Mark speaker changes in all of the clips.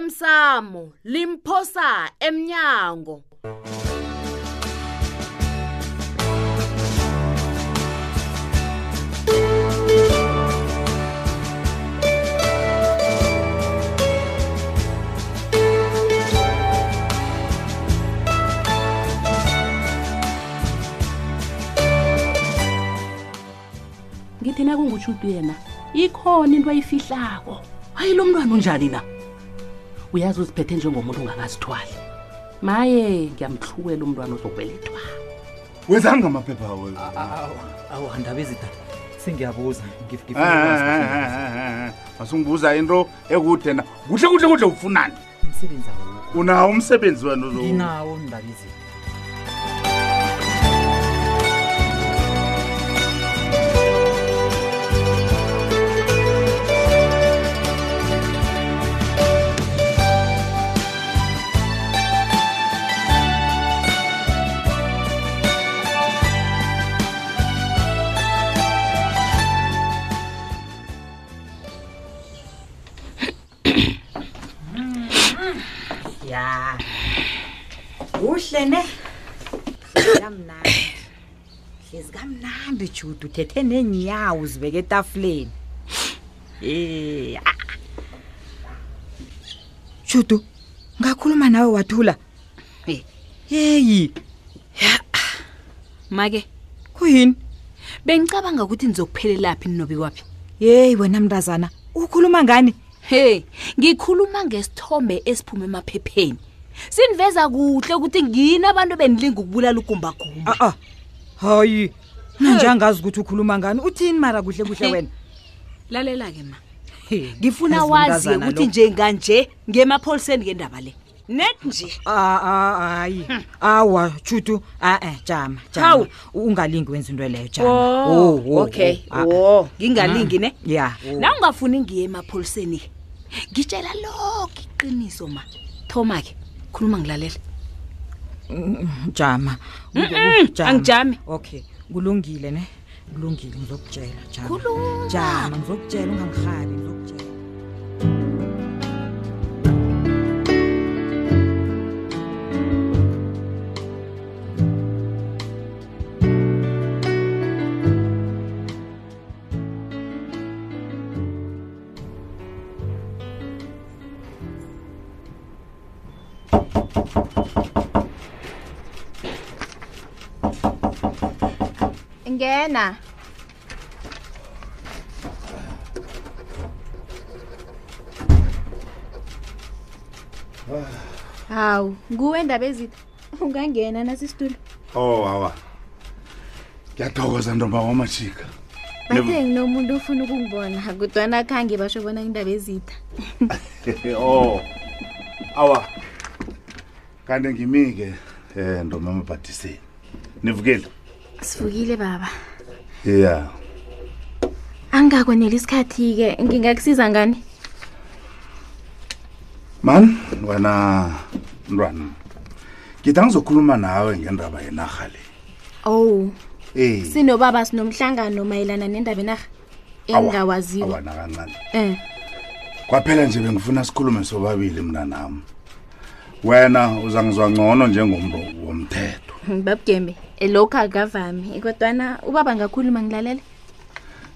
Speaker 1: osemsamo limphosa emnyango
Speaker 2: ngithi nakungutshudi yena ikhona into ayifihlako hayi lo mntwana unjani na uyazi uziphethe njengomuntu ongakazithwali maye ngiyamhluwela umntwana ozobelethwa
Speaker 3: wenzanga amaphepha awo Eh,
Speaker 4: awu andaba ezida sengiyabuza ngif-
Speaker 3: eh,
Speaker 4: ngifuna
Speaker 5: Eh,
Speaker 4: ukwazi ukuthi
Speaker 3: masungibuza eh, into ekude na kuhle kuhle kuhle ufunani
Speaker 4: umsebenzi awukho
Speaker 3: unawo umsebenzi wena
Speaker 5: eh.
Speaker 3: lo-
Speaker 4: nginawo ndaba ezida
Speaker 6: ya kuhle ne kamnandi hlezi kamnandi judu uthethe neenyawo uzibeke etafuleni Eh, ah. judu ngakhuluma nawe wathula Eh, yeyi
Speaker 7: make
Speaker 6: kuyini
Speaker 7: bengicabanga ukuthi nizokuphelelaphi ninobikwaphi
Speaker 6: yeyi wena mntazana ukhuluma ngani
Speaker 7: he ngikhuluma ngesithombe esiphume emaphepheni siniveza kuhle ukuthi ngini abantu benilinga ukubulala ugumbagumba
Speaker 6: a-a Ah, hayi nanje angazi ukuthi ukhuluma ngani uthini mara kuhle kuhle wena
Speaker 7: lalela-ke ma
Speaker 6: He,
Speaker 7: ngifuna
Speaker 6: yazi
Speaker 7: wazi
Speaker 6: umntazana
Speaker 7: ukuthi
Speaker 6: lo.
Speaker 7: njenganje ngemapholiseni ngendaba le net nje
Speaker 6: Ah, ah, hayi awa judu a-e jama jama
Speaker 7: Hmm. Hawu.
Speaker 6: ungalingi wenza into leyo jama Oh, oh,
Speaker 7: Oh,
Speaker 6: oh,
Speaker 7: okay
Speaker 6: ah,
Speaker 7: wo ngingalingi ne
Speaker 6: ya
Speaker 7: la ungafuni ngiye emapholiseni ngitshela lokho iqiniso ma thoma ke khuluma ngilalela
Speaker 6: jama Ku- ku- jama.
Speaker 7: angijami.
Speaker 6: okay kulungile ne kulungile ngizokutshela jama
Speaker 7: Khuluma.
Speaker 6: jama ngizokutshela ungangihabi ngizokutshela
Speaker 8: ngena hawu nguwe ndaba ezitha ungangena nasisitulo
Speaker 3: oh hawa ngiyathokoza ntomba wamajika
Speaker 8: bathe nginomuntu ofuna ukungibona kudwana khange basho bona indaba ezitha
Speaker 3: oh awa kanti ngimi-ke um ntomba emabhadiseni nivukile
Speaker 8: sivukile baba
Speaker 3: ya
Speaker 8: angakweneli isikhathi-ke ngingakusiza ngani
Speaker 3: mani wena mntwana ngithi angizokhuluma nawe ngendaba yenarha le
Speaker 8: ow
Speaker 3: Eh,
Speaker 8: sinobaba sinomhlangano mayelana nendaba enarha
Speaker 3: awa,
Speaker 8: engingawaziwo
Speaker 3: awa, nakancane
Speaker 8: um
Speaker 3: kwaphela nje bengifuna sikhulume sobabili mna nami wena uzangizwa ngcono njengomuntu womthetho
Speaker 8: babugembe lokho e akavami e kodwana ubaba ngakhuluma ngilalele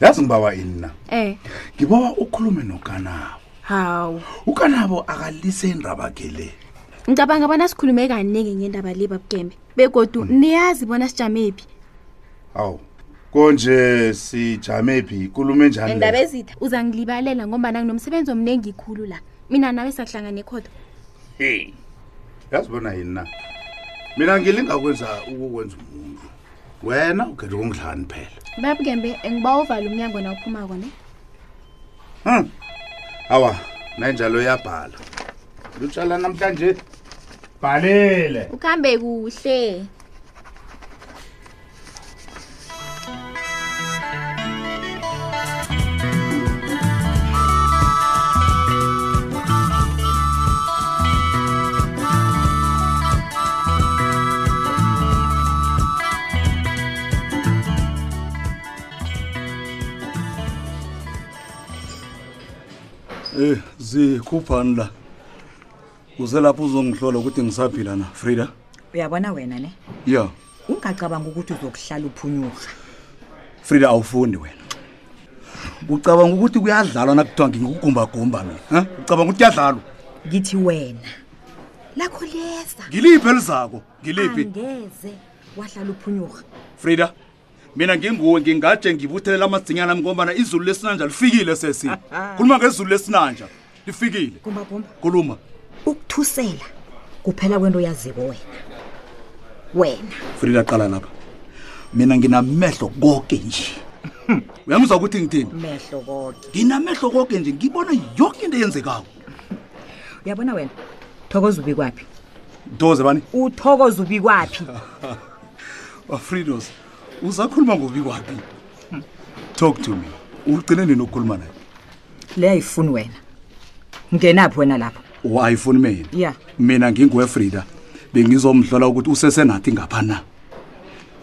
Speaker 3: yazi ngibawa ini na
Speaker 8: um
Speaker 3: ngibawa ukhulume nokanabo
Speaker 8: hawu
Speaker 3: ukanabo akalise indaba ke le
Speaker 8: ngicabanga bona sikhulume kaningi ngendaba le babugembe begodu niyazi bona sijamephi
Speaker 3: awu konje sijame phi ikulume njani le?
Speaker 8: ezitha uzangilibalela ngombana nginomsebenzi omningi khulu la mina nawe sakuhlangane khodo
Speaker 3: Hey, yazi bona yini na mina ngilingakwenza ukukwenza umuntu wena ukhetha ukungidlani phela
Speaker 8: babugembe ngiba uvala umnyango na uphumako ne
Speaker 3: Hmm. awa nanjalo yabhala lutshala namhlanje bhalele
Speaker 8: ukuhambe kuhle
Speaker 9: Eh, zikhuphani la? uselapho uzongihlola ukuthi ngisaphila na frida
Speaker 6: uyabona wena ne
Speaker 9: ya
Speaker 6: ungacabanga ukuthi uzokuhlala uphunyuka
Speaker 9: frida awufundi wena ucabanga ukuthi kuyadlalwa nakuthiwa ngingigumbagumba mina ha? ucabanga ukuthi kuyadlalwa
Speaker 6: ngithi wena lakho leza
Speaker 9: ngiliphi elizako ngiliphi
Speaker 6: angeze wahlala uphunyuka
Speaker 9: frida mina nginguwe ngingaje ngibuthelela amadzinyana ami ngombana izulu lesinanja lifikile sesi khuluma ngezulu lesinanja lifikile
Speaker 6: gumbagumba
Speaker 9: khuluma
Speaker 6: ukuthusela kuphela kwento oyaziko wena wena
Speaker 9: frida qala lapha mina nginamehlo konke nje uyamuzwa ukuthi ngithini
Speaker 6: mehlo kodwa
Speaker 9: nginamehlo konke nje ngibona yonke into eyenzekako
Speaker 6: uyabona wena thokoza ubi kwaphi
Speaker 9: doze bani
Speaker 6: uthokoza ubi kwaphi
Speaker 9: wafridos Oh, uzakhuluma ngobi kwaphi talk to me ugcine nini ukukhuluma naye
Speaker 6: le ayifuni wena ngenaphi wena lapho
Speaker 9: wayifuni Oh, mina
Speaker 6: ya
Speaker 9: mina nginguwefrida bengizomhlola ukuthi usesenathi ngapha na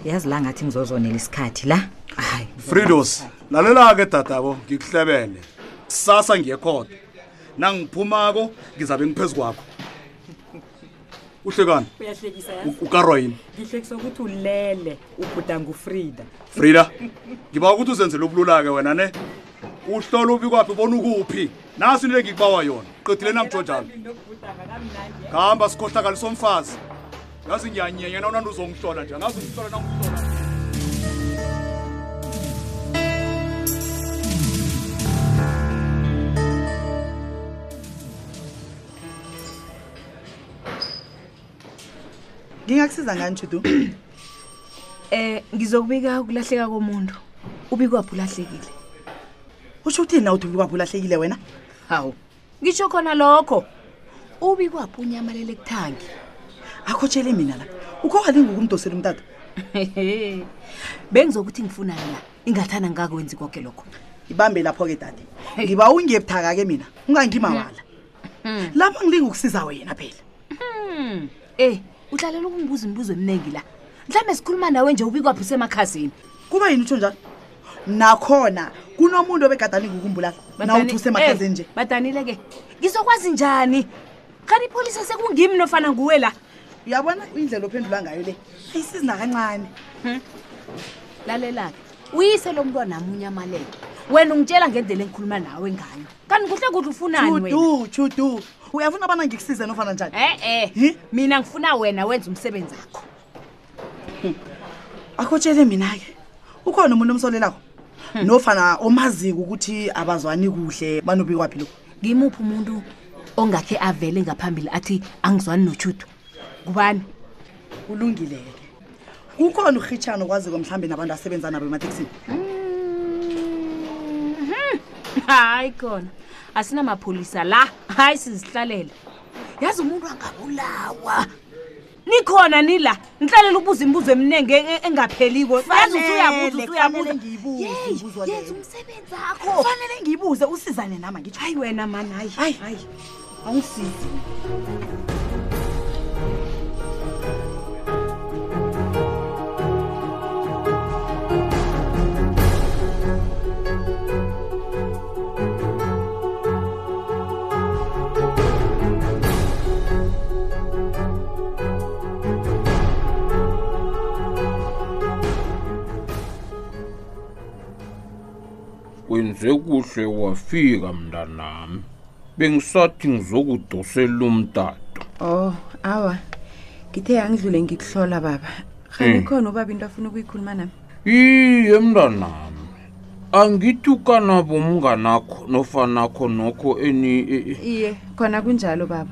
Speaker 6: yazi la ngathi ngizozonela isikhathi la hayi
Speaker 9: fridos lalela-ke dadabo ngikuhlebele kusasa ngiyekhoda nangiphumako ngizabe ngiphezu kwakho uhlekani
Speaker 10: uyahlekisa
Speaker 9: U- ukarwa yini
Speaker 10: ngihlekisa ukuthi ulele ubhuda ngufrida
Speaker 9: frida ngiba ukuthi uzenzele ubulula-ke wena ne uhlola ubi kwaphi bona ukuphi nasi into engikubawa yona qedile namjojalo ngihamba sikhohlakali somfazi yazi ngiyanyenyana nonandi uzongihlola nje angazi ungihlola nakuhlola
Speaker 8: ngingakusiza ngani judu
Speaker 7: Eh ngizokubika ukulahleka komuntu. Ubikwaphi ulahlekile?
Speaker 8: usho ukuthini na uthi ubikwaphi ulahlekile wena
Speaker 7: Hawu. Ngisho khona lokho. Ubikwaphi unyamalele kuthangi.
Speaker 8: akhotshele mina la ukho walinguku umdosela umtata
Speaker 7: Bengizokuthi ngifunani la. Ingathana ngakwenzi konke lokho.
Speaker 8: ibambe lapho-ke dade ngiba ungebuthaka-ke mina ungangimawala lapha ngilinga ukusiza wena phela
Speaker 7: Eh, uhlalela ukungibuza imibuzo eminingi la. Mhlambe sikhuluma nawe nje ubikwaphi usemakhazini.
Speaker 8: kuba yini utsho njalo nakhona kunomuntu obegadani-ke ukumbulala nawuthi usemakhazeni nje
Speaker 7: Badanile ke. Eh, Ngizokwazi njani? Kanti ipolice sekungimi nofana nguwe la.
Speaker 8: uyabona indlela ophendula ngayo le ayisizi nakancane
Speaker 7: Lalela-ke. Uyise lo mntwana munye amaleke. Wena ungitshela ngendlela engikhuluma nawe ngayo. Kanti kuhle kuhle ufunani wena?
Speaker 8: chudu chudu uyafuna abana ngikusize nofana njani
Speaker 7: Eh eh.
Speaker 8: Hi?
Speaker 7: Mina ngifuna wena wenza umsebenzi wakho.
Speaker 8: akhotshele mina-ke ukhona umuntu omsolelako Hmm. nofana omaziko ukuthi abazwani kuhle banobikwaphi lokhu
Speaker 7: Ngimuphi umuntu ongakhe avele ngaphambili athi angizwani nochudo? Kubani?
Speaker 8: kulungile-ke kukhona urhitshana okwaziko mhlawumbe nabantu asebenza nabo emateksini
Speaker 7: Hayi khona. Asina mapholisa la. Hayi sizihlalela. Yazi umuntu angabulawa. Nikhona nila. Nhlalela ubuza imibuzo eminenge engapheliko. Yazi uthi uyabuza uthi uyabuza. Yeyi, Yenza umsebenzi wakho.
Speaker 8: fanele ngiyibuze usizane nama ngitsho
Speaker 7: Hayi wena man hayi.
Speaker 8: hayi hayi awusizi
Speaker 11: wenze kuhle wafika mntanami bengisathi ngizokudosela umtato
Speaker 12: Oh, awa. Ngithe angidlule ngikuhlola baba. Khani
Speaker 11: Hmm.
Speaker 12: khona ubaba into afuna ukuyikhuluma nami.
Speaker 11: Eh. iye mntanami angithi ukanabo umnganakho nofanakho nokho eni e- e-
Speaker 12: Iye, khona kunjalo baba.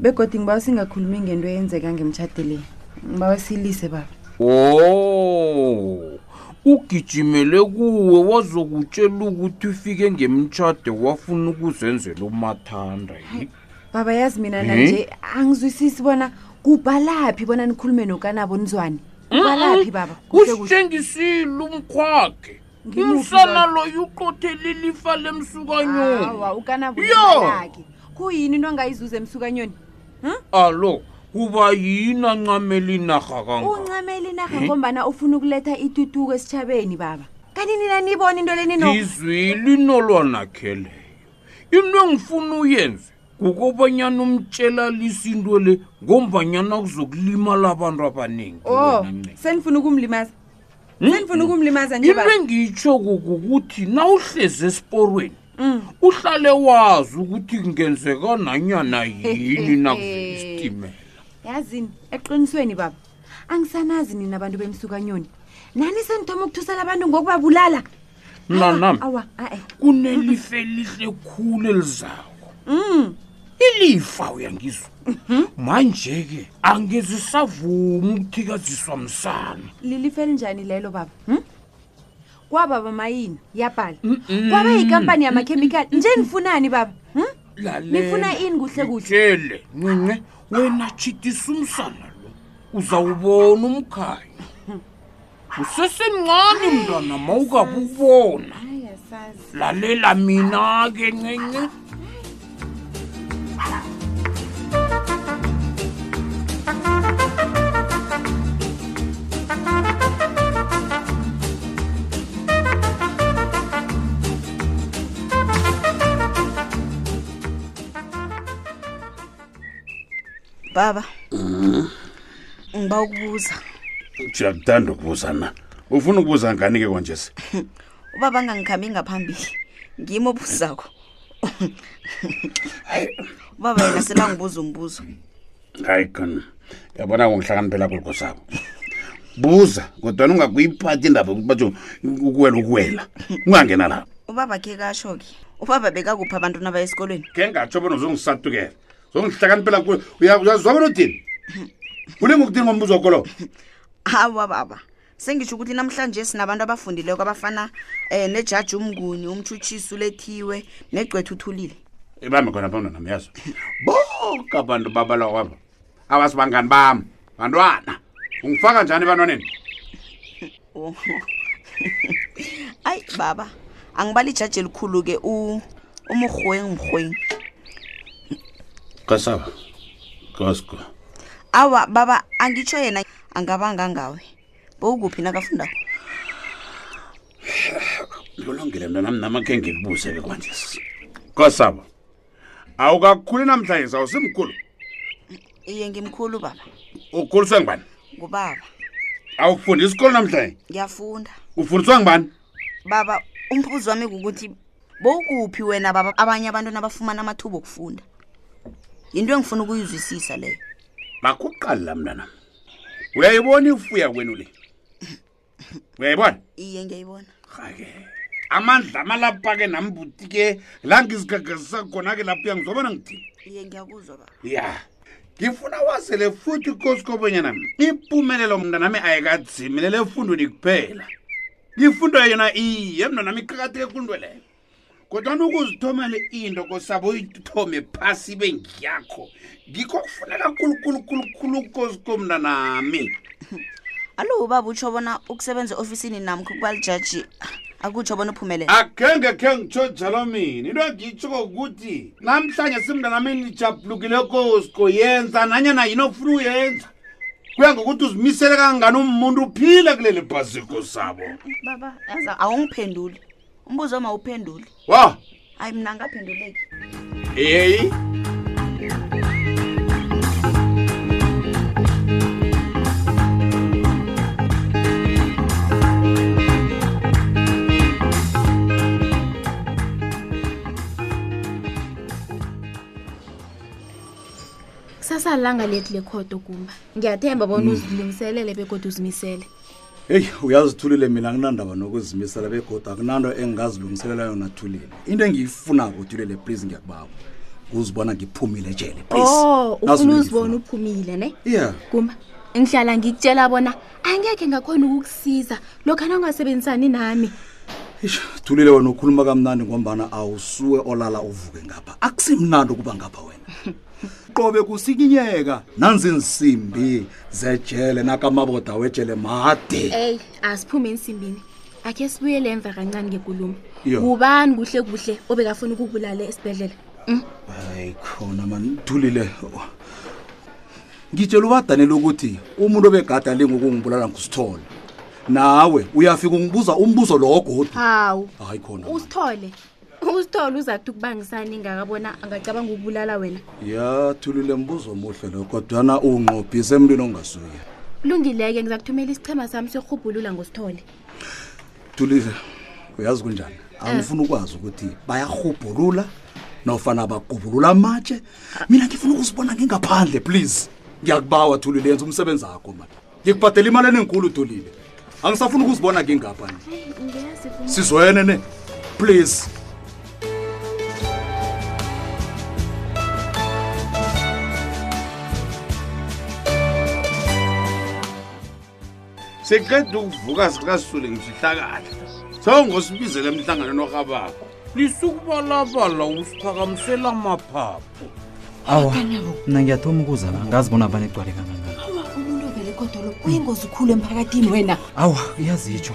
Speaker 12: Begodi ngibawa singakhulumi ngento eyenzeka ngemtshadele. Ngibawa silise baba.
Speaker 11: o ugijimele kuwe wazokutshela ukuthi ufike ngemtshade wafuna ukuzenzela umathanda yi
Speaker 12: Baba yazi mina
Speaker 11: Eh?
Speaker 12: nanje angizwisisi bona kubhalaphi bona nikhulume nokanabo nizwani. Kubhalaphi baba? Kuhle kuhle.
Speaker 11: usitshengisile umkhwakhe
Speaker 12: Ngimuphi
Speaker 11: umsana
Speaker 12: lo?
Speaker 11: loyo uqothelile ifa lemsukanyoni
Speaker 12: Awa, ukanabo
Speaker 11: Yo!
Speaker 12: nalaki. Kuyini into ongayizuza emsukanyoni?
Speaker 11: alo kuba yini ancamela inarha kangaka
Speaker 12: Uncamela inarha ngombana ufuna ukuletha itutuko esitshabeni baba. Kanti nina nibona into leni no?
Speaker 11: ngizwile inolwanakheleyo into engifuna uyenze kukobanyana umtshela lisinto le ngombanyana kuzokulimala abantu abaningi
Speaker 12: o senifuna Oh, ukumlimaza senifuna ukumlimaza nje
Speaker 11: into
Speaker 12: baba
Speaker 11: engiyitsho kukukuthi nawuhlezi esiporweni
Speaker 12: Mm.
Speaker 11: uhlale wazi ukuthi kungenzeka nanyana yini nakuvela isitimela
Speaker 12: yazini eqinisweni baba angisanazi nina abantu bemsukanyoni nani senithoma ukuthusela abantu ngokubabulala
Speaker 11: mnanami
Speaker 12: Ah, awa ae
Speaker 11: kunelifa elihle khulu elizako
Speaker 12: Mm.
Speaker 11: ilifa uyangizwa
Speaker 12: Mhm.
Speaker 11: manje-ke angezisavumi ukuthikaziswa msana
Speaker 12: lilifa elinjani lelo baba hmm? kwaba bamayini yabhala kwaba yikampani yamakhemikhali nje nifunani baba hmm? nifuna ini kuhle kuhle
Speaker 11: tshele ncince wena tshitisa umsana lo uzawubona umkhanya
Speaker 12: Mhm.
Speaker 11: usesemncane mntwana mawungakubona lalela mina-ke ncince
Speaker 6: baba ngiba ukubuza
Speaker 5: ndiyakuthanda ukubuza na ufuna ukubuza ngani ke kwanje se
Speaker 13: ubaba angangikhambi ngaphambili ngimo obuzakho Hayi, ubaba yena selangibuza umbuzo
Speaker 5: hayi khona yabona kungihlakaniphela kulikho sabo buza kodwana ungakuyiphathi indaba yokuthi batsho ukuwela ukuwela ungangena lapho
Speaker 13: ubaba khe kasho ke ubaba bekakuphi abantu naba esikolweni
Speaker 5: ke ngatsho bona uzongisatukela zongihlakaniphela kuwe Uya- uyaziwa bona uthini kulinga ukuthini ngombuzo wakolowo
Speaker 13: hawa baba sengitsho ukuthi namhlanje sinabantu abafundileko abafana um nejaji umnguni umtshutshisi ulethiwe negcwetha uthulile
Speaker 5: ibambe khona phambona nam yazo boke abantu babalawa kwabo abasibangani bam bantwana ungifaka njani ebantwaneni
Speaker 13: Oh. ayi baba angibali ijaji elikhulu-ke umrhweng mrhweng
Speaker 5: kasaba kosko
Speaker 13: awa baba angitsho yena angabanga ngawe bowukuphi nakafundako
Speaker 5: kulungile mntanam namakhe ngilibuze ke kwanje kosabo awukakhuli namhlanje sawusimkhulu
Speaker 13: iye ngimkhulu baba
Speaker 5: ukhuliswe ngubani
Speaker 13: ngubaba
Speaker 5: awufundi isikolo namhlanje
Speaker 13: ngiyafunda
Speaker 5: ufundiswa ngubani
Speaker 13: baba umbuzo wami kukuthi bowukuphi wena baba abanye abantwana abafumana amathuba okufunda yinto engifuna ukuyizwisisa leyo
Speaker 5: makuqali la mntanam uyayibona ifuya kwenu le uyayibona
Speaker 13: iye ngiyayibona
Speaker 5: hake amandla amalapha ke nambuti ke la ngizigagazisa khona ke lapho uyangizobona ngithini
Speaker 13: iye ngiyakuzwa baba
Speaker 5: ya ngifuna wazele futhi kosikobonyana impumelelo mntanami ayikadzimelele efundweni kuphela ifundo yona iye mntanami iqakatheke kundo leyo kodwana ukuzithomele into kosabo uyithome phasi ibe ngiyakho ngikho kufuneka kulukulukulukulu kosikomntanami
Speaker 13: alo ubaba utsho bona ukusebenza eofisini namkho kubalijaji akutsho bona uphumelele
Speaker 5: akhenge khe ngitsho njalo mina into engiyitshoko ukuthi namhlanje simntanami nijabulukile kosko yenza nanyana yini okufuna uyenza kuya ngokuthi uzimisele kangani umuntu uphile kuleli bhaziko sabo
Speaker 13: baba yaza awungiphenduli umbuzo wami awuphenduli
Speaker 5: wa
Speaker 13: hayi mna ngaphenduleki
Speaker 5: eyi
Speaker 8: kusasa langa lethu lekhodo kumba ngiyathemba bona uzilungiselele begodwa uzimisele
Speaker 9: heyi uyazithulile mina akunandaba nokuzimisela begoda akunanto engingazilungiselela yona thulile into engiyifunako thulile please ngiyakubawa uzibona ngiphumile jele please
Speaker 8: o
Speaker 9: Nazi
Speaker 8: Oh, ufuna
Speaker 9: into
Speaker 8: uzibona uphumile ne
Speaker 9: Yeah.
Speaker 8: kumba ngihlala ngikutshela bona angekhe ngakhona ukukusiza lokhu anangasebenzisani nami
Speaker 9: engiyifunako. thulile wena ukhuluma kamnandi ngombana awusuke olala uvuke ngapha akusimnandi ukuba ngapha wena qobe kusikinyeka nanzi insimbi zejele nakamaboda wejele made
Speaker 8: eyi asiphume ensimbini akhe sibuyele emva kancane ngekulumo
Speaker 9: Yo.
Speaker 8: ngubani kuhle kuhle obekafuna ukubulala esibhedlela Mm?
Speaker 9: hayi khona mani thulile ngitshela ubadanele ukuthi umuntu obegada lingokungibulala ngusithole nawe uyafika ungibuza umbuzo lowo godu
Speaker 8: hawu
Speaker 9: hayi khona
Speaker 8: usithole usithole uza kuthi ukubangisani ingakabona angacabanga ukubulala wena
Speaker 9: ya thulile mbuzo omuhle lo kodwana unqobhise emntwini ongasuye
Speaker 8: kulungileke ngiza kuthumela isichema sami sokurhubhulula ngosithole
Speaker 9: thulile uyazi kunjani angifuna ukwazi ukuthi bayarhubhulula nofana bagubulula amatshe mina ngifuna ukuzibona ngingaphandle please ngiyakubawa thulile yenza umsebenzi akho mani ngikubhadela imali enenkulu thulile angisafuna ukuzibona ngingapha ni
Speaker 8: ngiyazi
Speaker 9: sizwene ne please
Speaker 5: siqeda ukuvuka sikasule ngifihlakala sewungosibizela emhlanganweni orhabako
Speaker 11: lisukubalabala usiphakamisela amaphaphu
Speaker 4: awa mna ngiyathoma ukuza la ngazibona vane igcwale kangangani
Speaker 12: umuntu ovele kodolo uyingozi khulu emphakathini wena
Speaker 4: awa iyazitsho